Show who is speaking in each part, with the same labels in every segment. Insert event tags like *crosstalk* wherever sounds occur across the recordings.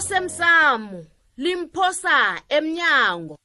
Speaker 1: osemsamo limphosa emnyango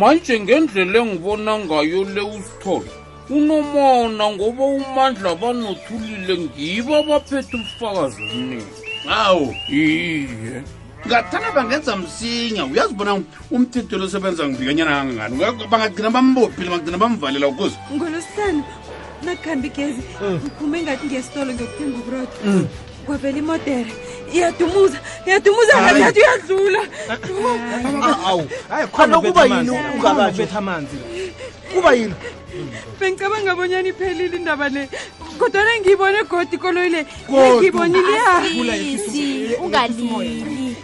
Speaker 2: manje ngendlela engibona ngayo le usithole unomona ngoba umandla banothulile ngibo abaphethe ubufakazi obuningi
Speaker 3: hawu
Speaker 2: iye
Speaker 3: ngathana bangenza msinya uyazibona umthetho losebenza ngivikanyana kangangani Nga- bangagcina bambophile bangagcina bamvalela ukuze
Speaker 4: ngolositano nakuhambi igezi ngiphume ngathi ngesitolo ngiyokuthenga uburodo kwavela imodere iyadumuza iyadumuza ngathi uyadlula
Speaker 5: khonaukuba yini ungakabetha amanzi kuba yini
Speaker 4: bengicabanga abonyana iphelile indaba le kodwana ngiyibone godi ikoloyi le ngiyibonile ya
Speaker 1: sisi ungalili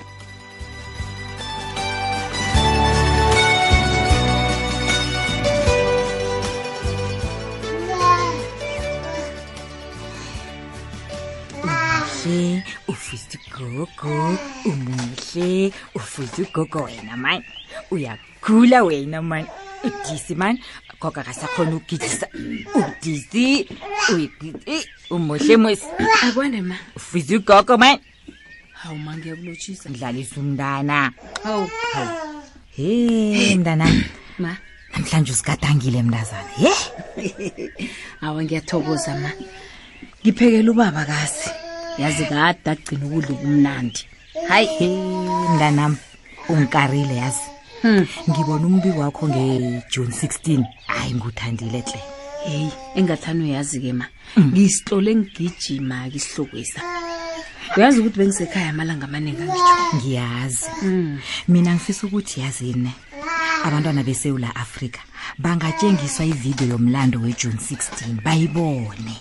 Speaker 6: muhle ufuza ugogo umuhle ufuza ugogo wena mani uyakhula wena mani udisi mani gogo akasakhona ukugijisa udisi uyi- i- umuhle mwesi
Speaker 4: akwande ma
Speaker 6: ufuza ugogo mani
Speaker 4: hawu ma ngiyakulotshisa
Speaker 6: ndlalisa umntana
Speaker 4: hawu
Speaker 6: he mntanami
Speaker 4: ma
Speaker 6: namhlanje usigadangile mntazana ye
Speaker 4: hawa ngiyathokoza ma ngiphekela ubaba kasi yazi kade agcina ukudla kumnandi
Speaker 6: hayi mntanam ungikarile yazi
Speaker 4: Hmm.
Speaker 6: ngibona umbiko wakho ngejune 16 hayi nguthandile hle
Speaker 4: heyi engathani uyazi-ke ma
Speaker 6: Hmm.
Speaker 4: ngisihlole ngigijima kisihlokisa uyazi ukuthi bengisekhaya amalanga Hmm. amaningi angitsho
Speaker 6: ngiyazi mina ngifisa ukuthi yazini abantwana besewula afrika bangatshengiswa ividiyo yomlando wejune 16 bayibone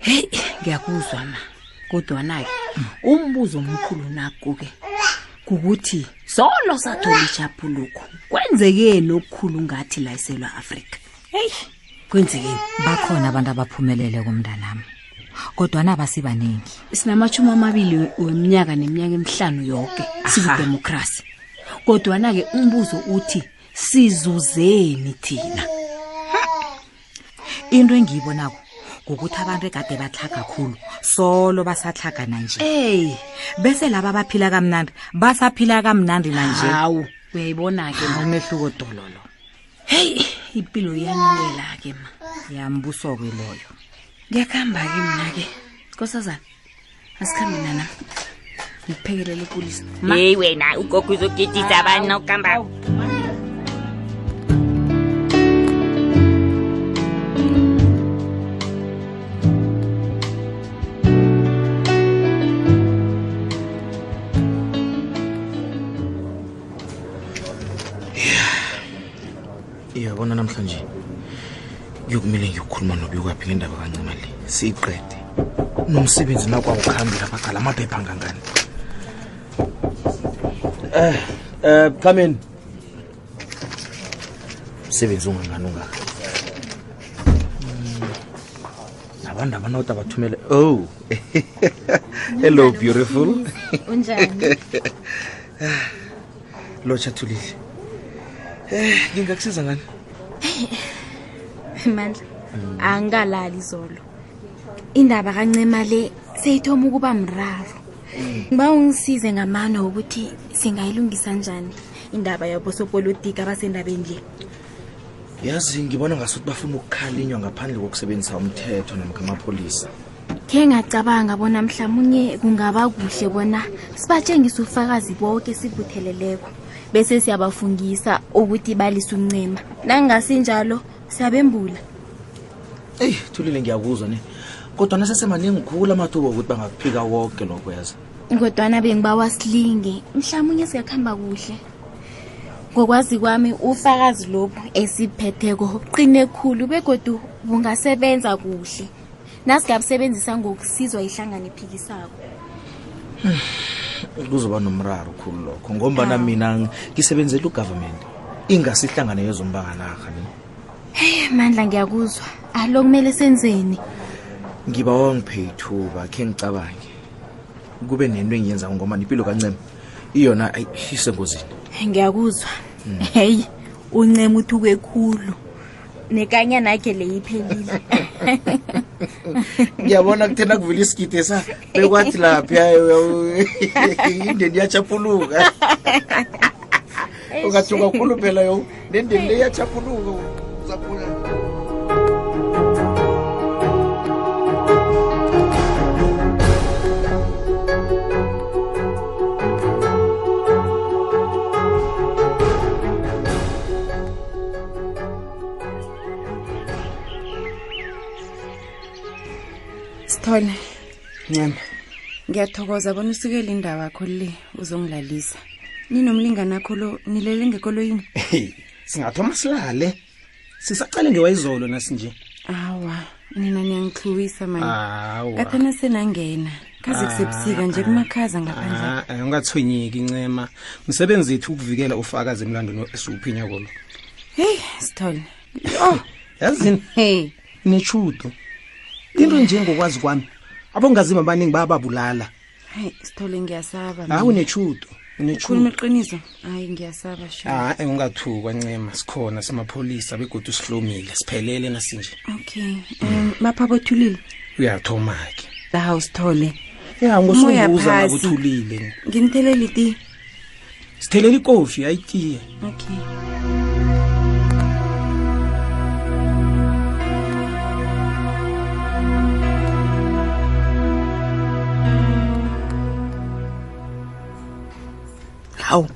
Speaker 4: heyi ngiyakuzwa ma kodwana-ke umbuzo omkhulu naku-ke kukuthi solo sathola ijaphuluko kwenzekeni okukhulu ngathi la iselwa afrika heyi kwenzekeni
Speaker 6: bakhona abantu abaphumelele kumntanami kodwana abasibaningi
Speaker 4: sinamatshumi amabili we- weminyaka neminyaka emihlanu yonke sikudemokrasi kodwana-ke umbuzo uthi sizuzeni thina
Speaker 6: into engiyibonako ngokuthi abantu ekade batlhaga khulu solo basatlhaga nanje
Speaker 4: eyi
Speaker 6: bese laba abaphila kamnandi basaphila kamnandi nanje
Speaker 4: hawu uyayibona-ke ma
Speaker 6: umehluko dololo
Speaker 4: heyi impilo iyanulela-ke ma
Speaker 6: yambuso kwe loyo
Speaker 4: ngiyakuhamba-ke mna-ke nkosazana asikhambe nana ngikuphekelele ikulisa ma
Speaker 6: yeyi wena ugogo uzogidisa abantu nawukambako
Speaker 5: iyabona namhlanje kuyokumele ngiyokukhuluma nobikwaphi ngendaba kancima le siyiqede nomsebenzi nakwawukuhambela bagala amaphepha angangani um um kameni msebenzi ungangani ungaka Mm, abantu abanota bathumele oh *laughs* hello beautiful
Speaker 7: unjani
Speaker 5: *laughs* lotsha thulile um ngingakusiza ngani
Speaker 7: mandla angikalali izolo indaba kancema le seyithoma ukuba mraro ngiba ungisize ngamano wokuthi singayilungisa njani indaba yabosopolitika abasendabeni le
Speaker 5: yazi ngibona ngasuthi bafuna ukukhalinywa ngaphandle kokusebenzisa umthetho namkha amapholisa
Speaker 7: khe ngacabanga bona mhlawumunye kungaba kuhle bona sibatshengise ufakazi bonke sibutheleleko bese siyabafungisa ukuthi balise uncema nangasinjalo siyabembula
Speaker 5: eyi thulile ngiyakuzwa ne kodwa nasesemaningi khulu amathuba okuthi bangakuphika woke lokho yazi
Speaker 7: kodwana bengibawa silinge mhlawumunye singakuhamba kuhle ngokwazi kwami ufakazi lobu esiphetheko qine khulu begodu bungasebenza kuhle nasingabusebenzisa ngokusizwa ihlangano ephikisako
Speaker 5: kuzoba nomraro khulu lokho ngombana mina ng- ngisebenzela ugovernment ingasihlangane yezombanganarha ne
Speaker 7: mandla ngiyakuzwa alo kumele senzeni
Speaker 5: ngibawa ngiphe ithuba khe ngicabange kube nento engiyenzako ngoba impilo kancema iyona ayi, isengozini
Speaker 7: ngiyakuzwa heyi uncema uthuke khulu nekanyana yakhe *laughs* leyiphelile
Speaker 8: ngiyabona kuthena kuvela isigidi sa bekwathi lapha indeni iyachapuluka ungathuka khulu phela yo nendeni le iyachapuluka uzakhula
Speaker 4: sithole
Speaker 5: ncema
Speaker 4: ngiyathokoza bona usikele indaba yakho le uzongilalisa ninomlingani akho lo nilele ngekoloyini
Speaker 5: Hey, singathoma silale sisaqale ngewayizolo nasinje
Speaker 4: awa nina niyangixhuwisa mani
Speaker 5: hawa
Speaker 4: kathana senangena kaze kusebusika nje kumakhaza ngaphandle
Speaker 5: Ah, eh, ungathwenyeki ncema msebenzi wethu ukuvikela ufakazi emlandweni esiwuphinya kolo
Speaker 4: heyi sithole Oh,
Speaker 5: yazini
Speaker 4: hey
Speaker 5: netshudo into njengokwazi kwami abongazima abaningi bayababulala
Speaker 4: hayi sithole ngiyasaba
Speaker 5: hawu netshudo
Speaker 4: khuluma
Speaker 5: netshudo
Speaker 4: iqiniso hayi ngiyasaba sho
Speaker 5: Ah, hayi ungathukwa ncema sikhona simapholisa begodwa sihlomile siphelele nasinje
Speaker 4: okay um baphaba othulile
Speaker 5: uyathoma ke
Speaker 4: hawu sithole
Speaker 5: ya
Speaker 4: Umoya
Speaker 5: ngosunguza
Speaker 4: phasi.
Speaker 5: ngakuthulile
Speaker 4: nginithelele iti
Speaker 5: sithelela ikofi ayitiye
Speaker 4: okay
Speaker 6: hawu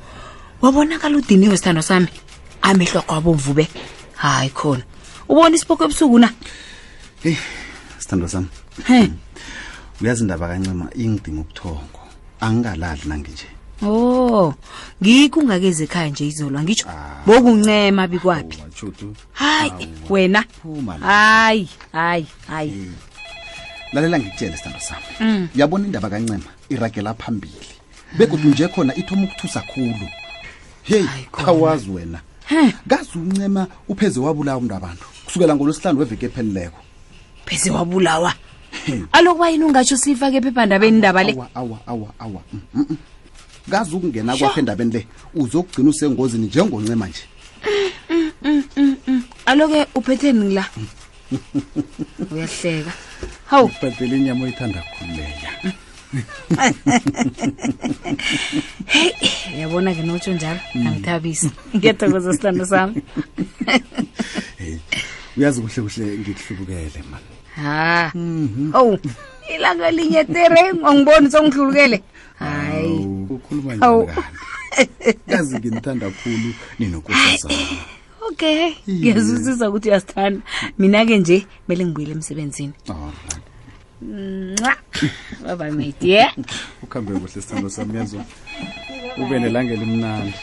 Speaker 6: wabonakala udiniwe sithando sami amehlo kwabomvu be hayi khona ubona isiboko ebusuku na
Speaker 3: sithando sami Hmm.
Speaker 6: he
Speaker 3: uyazi indaba kancema ingidinga ubuthongo angingalali nange nje
Speaker 6: o ngikho ungakeze Oh, ekhaya nje izolwa ngitsho
Speaker 3: Ah.
Speaker 6: bokuncema bikwaphi
Speaker 3: watshutu
Speaker 6: hayi wena
Speaker 3: Phuma la.
Speaker 6: hayi hayi hayi
Speaker 3: lalela ngikutshele sithando
Speaker 6: Mm.
Speaker 3: sami yabona indaba kancema iragela phambili bekodwa nje khona ithoma ukuthusa khulu heyi
Speaker 6: Hayi khona.
Speaker 3: khawazi wena kazi uncema upheze wabulawa umntu abantu kusukela ngolwesihlanu weveke ephelileko
Speaker 6: pheze wabulawa aloku bayini ungatsho siyifake ephephandabeni indaba le
Speaker 3: awa awa awa awa Mm, mm, mm. kazi ukungena kwakho endabeni le uzokugcina usengozini njengoncema nje
Speaker 6: aloke uphetheni la uyahleka hawu
Speaker 3: ubhadele inyama oyithanda khululeya
Speaker 6: uyabona ke notsho njalo angithabisa ngiyathokoza sithando sami
Speaker 3: uyazi kuhle kuhle ngikuhlubukele mani
Speaker 6: ha owu ilanga linye tere angiboni songihlulukele hayi
Speaker 3: ukhuluma
Speaker 6: Awu.
Speaker 3: njani kanti yazi nginithanda khulu ninokusazana
Speaker 6: okay ngiyazuzisa ukuthi uyasithanda mina-ke nje kumele ngibuyele emsebenzini
Speaker 3: alright
Speaker 6: nca babamedi ye
Speaker 3: ukhambe kuhle sithando sami yazo ube nelanga elimnandi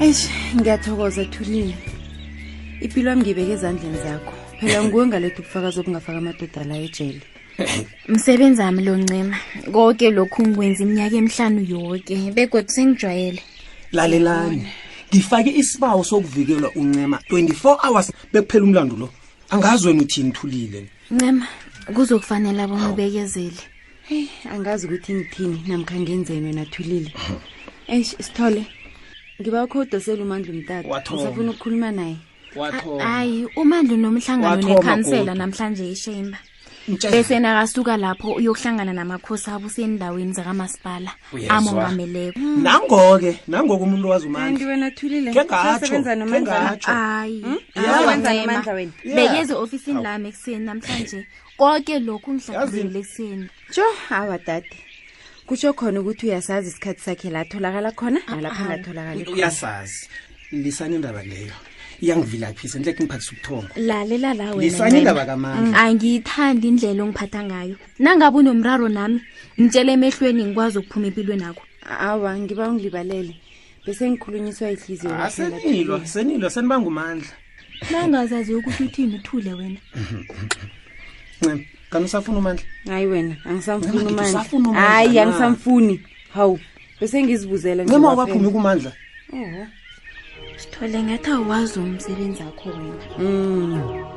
Speaker 4: eish ngiyathokoza thulile impilo yami ngibeke ezandleni zakho phela nguwe ngaletha ubufakazi obungafaka amadoda la ejele
Speaker 7: msebenzi wami lo ncema konke lokhu ngikwenza iminyaka emihlanu yoke begodwa sengijwayele
Speaker 5: lalelani ngifake isibawo sokuvikelwa uncema 24 hours bekuphela umlando lo angazi wena uthini thulile
Speaker 7: ncema kuzokufanele abona ubekezele
Speaker 4: heyi angazi ukuthi ngithini namkha ngenzeni wena thulile eish sithole ngiba ukho udosele umandla umtata
Speaker 5: Wathoma.
Speaker 4: usafuna ukukhuluma naye Ah,
Speaker 7: hayi umandla unomhlangano
Speaker 5: Wathoma
Speaker 7: nekhansela
Speaker 5: godu.
Speaker 7: namhlanje ishemba
Speaker 4: ah,
Speaker 5: Mtshele.
Speaker 7: bese nakasuka lapho uyokuhlangana namakhosi abusendaweni zakamasipala
Speaker 5: Uyezwa. Hmm.
Speaker 7: amongameleko
Speaker 5: nango-ke nangoku umuntu owazi
Speaker 4: kanti
Speaker 5: umandla
Speaker 4: wena thulile
Speaker 5: Khe ngatsho,
Speaker 4: usasebenza nomandla
Speaker 5: khe
Speaker 4: na?
Speaker 5: ngatsho.
Speaker 7: hayi
Speaker 5: Hmm?
Speaker 4: Usasebenza nomandla wena
Speaker 5: Yeah.
Speaker 7: bekeze ofisini lami ekuseni namhlanje konke lokhu ngihlakazekile ekuseni
Speaker 4: tsho awa dade kutsho khona ukuthi uyasazi isikhathi sakhe la atholakala khona nalapho angatholakali khona.
Speaker 5: uyasazi lisani indaba leyo iyangivilaphisa ndileke ngiphathisa ubuthongo
Speaker 7: lalela la
Speaker 5: lisani
Speaker 7: wena
Speaker 5: indaba kamandla
Speaker 7: Mm. angiyithandi indlela ongiphatha ngayo nangabe unomraro nami ngitshele emehlweni ngikwazi ukuphuma empilweni akho
Speaker 4: awa ngiba ungilibalele bese ngikhulunyiswa ihliziyo
Speaker 5: Ah,
Speaker 4: kwaphela,
Speaker 5: senilwa
Speaker 4: Thulile.
Speaker 5: senilwa senibangumandla
Speaker 7: nangazaziyo ukuthi uthini uthule wena
Speaker 5: ncema kanti usafuna umandla
Speaker 7: hayi wena angisamfuni
Speaker 5: Ncema, ngithi
Speaker 7: umandla
Speaker 5: usafuna umandla
Speaker 7: hayi
Speaker 5: na?
Speaker 7: angisamfuni hawu bese ngizibuzela
Speaker 5: ncema ubaphumi kumandla
Speaker 9: sithole ngathi awazi umsebenzi wakho wena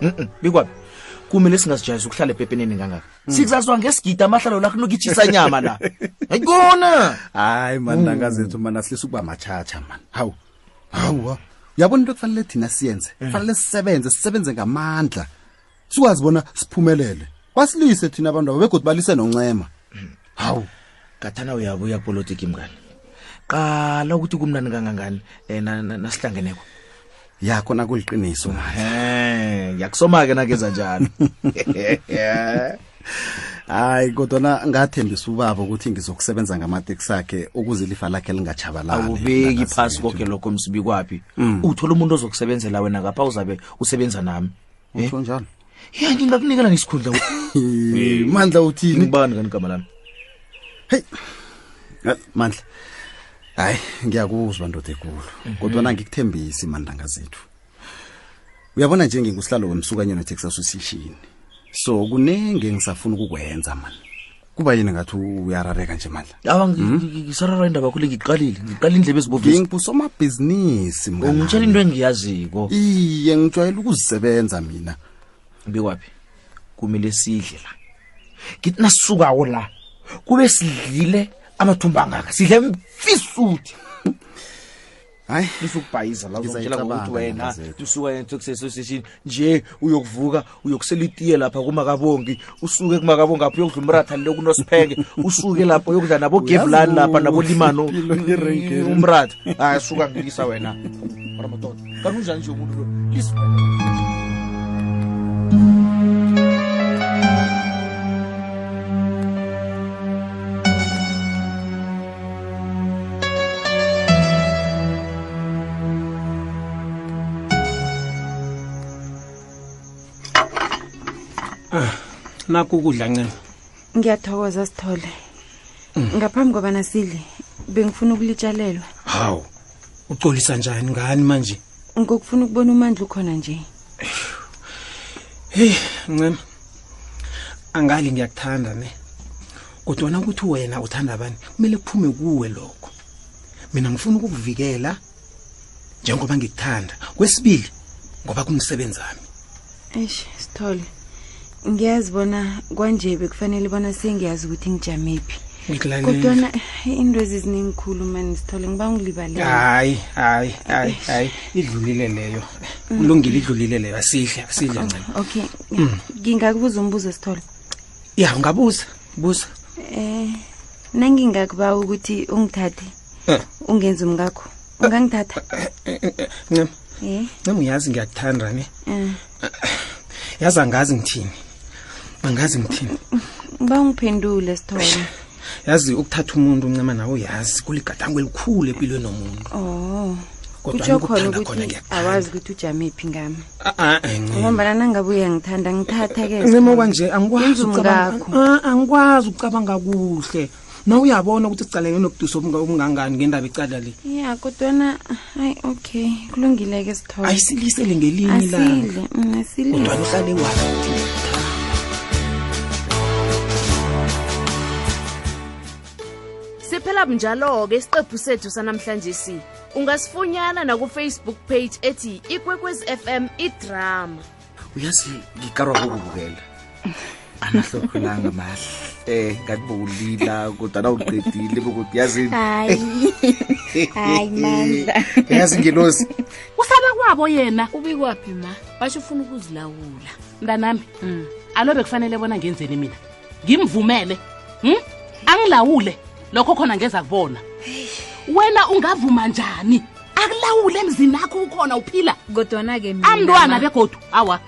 Speaker 8: Mm-mm, bikwabi kumele singazijayisa ukuhlala epepeneni kangaka sikuzaziswa ngesigidi amahlalo lakho nokitshisa nyama *laughs* la hayi kona
Speaker 10: hayi mani nangazethu mani asilisa ukuba matshatsha mani hawu hawu uyabona into ekufanele thina siyenze kufanele sisebenze sisebenze ngamandla sikwazi bona siphumelele basilise thina abantu aba begodi balise noncema hawu
Speaker 8: ngathana uyabuya kupolitiki mngani qala ukuthi kumnani kangangani eh, na- na- nasihlangeneko
Speaker 10: yakho nakuliqiniso mani
Speaker 8: Eh, ngiyakusoma-ke nakenza njalo
Speaker 10: *laughs*
Speaker 8: *laughs*
Speaker 10: hayi kodwana ngathembisa ubaba ukuthi ngizokusebenza ngamateksi akhe ukuze ilifa lakhe lingatshabalali Mm.
Speaker 8: awubeki
Speaker 10: Nangazethu.
Speaker 8: phasi konke lokho msibikwaphi uthola umuntu ozokusebenzela wena ngapha uzabe usebenza nami Eh?
Speaker 10: utsho njalo
Speaker 8: ya ngingakunikela ngesikhundla
Speaker 10: Eh, *laughs* mandla uthini
Speaker 8: ngibani kani igama lami
Speaker 10: Eh, mandla hayi ngiyakuzwa ndoda ekulu kodwana ngikuthembisi mandanga zethu uyabona nje ngingusihlalo wemsukanyana texas association so kunenge ngisafuna ukukwenza mani kuba yini ngathi uyarareka nje mandla
Speaker 8: awa ngisarara indaba khule ngiqalile ngiqala indlebe ezibovisa
Speaker 10: ngingusomabhizinisi mnganami.
Speaker 8: ungitshela into engiyaziko
Speaker 10: iye ngijwayele ukuzisebenza mina
Speaker 8: bikwaphi kumele sidle la ngithi nasisukako la kube sidlile amathumba angaka sidle mfisuthi
Speaker 10: hayi
Speaker 8: lisukubhayiza la uzongitshela ngokuthi
Speaker 10: Ngizayicabanga
Speaker 8: wena
Speaker 10: Ntombazana.
Speaker 8: usuka entexassociation nje uyokuvuka uyokusela itiye lapha kumakabongi usuke kumakabongi apho uyokudla umratha lokunosiphenge usuke lapho uyokudla nabogevulani lapha nabolimano
Speaker 10: Ipilo yerenkeni.
Speaker 8: umratha hayi suka ngilisa wena Mara madoda, kanti unjani nje umuntu lo lisa
Speaker 5: nakho ukudla ncema
Speaker 7: ngiyathokoza sithole ngaphambi kobana sidle bengifuna ukulitshalelwa
Speaker 5: hawu ucolisa njani ngani manje
Speaker 7: ngokufuna ukubona umandla ukhona nje
Speaker 5: heyi ncema angali ngiyakuthanda ne kodwana ukuthi wena uthanda abani kumele kuphume kuwe lokho mina ngifuna ukukuvikela njengoba ngikuthanda kwesibili ngoba kumsebenzi wami
Speaker 7: eish sithole ngiyazi bona kwanje bekufanele bona sengiyazi ukuthi ngijamephi
Speaker 5: ngikulalela
Speaker 7: kodwana into eziziningikhulu mani sithole ngiba ngilibalela
Speaker 5: hayi hayi hayi hayi idlulile leyo
Speaker 7: Mm.
Speaker 5: kulungile idlulile leyo asihle asihle ncema
Speaker 7: okay ngingakubuza umbuzo sithole
Speaker 5: ya ungabuza buza
Speaker 7: eh nangingakuba ukuthi ungithathe
Speaker 5: Eh.
Speaker 7: ungenze umngakho ungangithatha
Speaker 5: Eh, eh, eh, ncema
Speaker 7: eh
Speaker 5: ncema uyazi ngiyakuthanda ne
Speaker 7: eh.
Speaker 5: yazi angazi ngithini angazi ngithini
Speaker 7: ngiba ungiphendule sithole
Speaker 5: yazi ukuthatha umuntu uncema nawe uyazi kuligadango elikhulu empilweni nomuntu
Speaker 7: oh
Speaker 5: Kodwa
Speaker 7: kutsho khona
Speaker 5: ngikuthanda khona
Speaker 7: ukuthi
Speaker 5: ngiyakuthanda.
Speaker 7: awazi ukuthi ujamephi ngami
Speaker 5: ncema
Speaker 7: ngombana nangabuye ngithanda ngithatha ke
Speaker 5: kwanje angikwazi
Speaker 7: Yenza
Speaker 5: ukucabanga-
Speaker 7: umngakho.
Speaker 5: Ah, angikwazi ukucabanga kuhle na uyabona ukuthi sicalene nokudusa obunga- obungangani ngendaba ecala le
Speaker 7: ya kodwana hayi okay kulungileke sithole
Speaker 5: ayisilisele ngelinye ilanga
Speaker 7: asidle
Speaker 5: *laughs*
Speaker 7: mm, asidle
Speaker 5: kodwana uhlale wathi
Speaker 11: siphela bunjalo-ke isiqephu sethu sanamhlanje si ungasifunyana nakufacebook page ethi ikwekwezi fm idrama
Speaker 8: uyazi ngikarwa kokubukela anahlokholanga mahle um ngakubulila kodwana uqedile bokuthi yazini
Speaker 9: hayi hayi mandla
Speaker 8: eh, yazi ngelosi
Speaker 1: usaba kwabo yena ubikwaphi ma basho ufuna ukuzilawula Hmm. mntanami alo bekufanele bona ngenzeni mina ngimvumele hm? angilawule lokho khona ngeza kubona wena ungavuma njani akulawule emzini akho ukhona uphila
Speaker 4: kodwana-ke
Speaker 1: amntwana begodu awa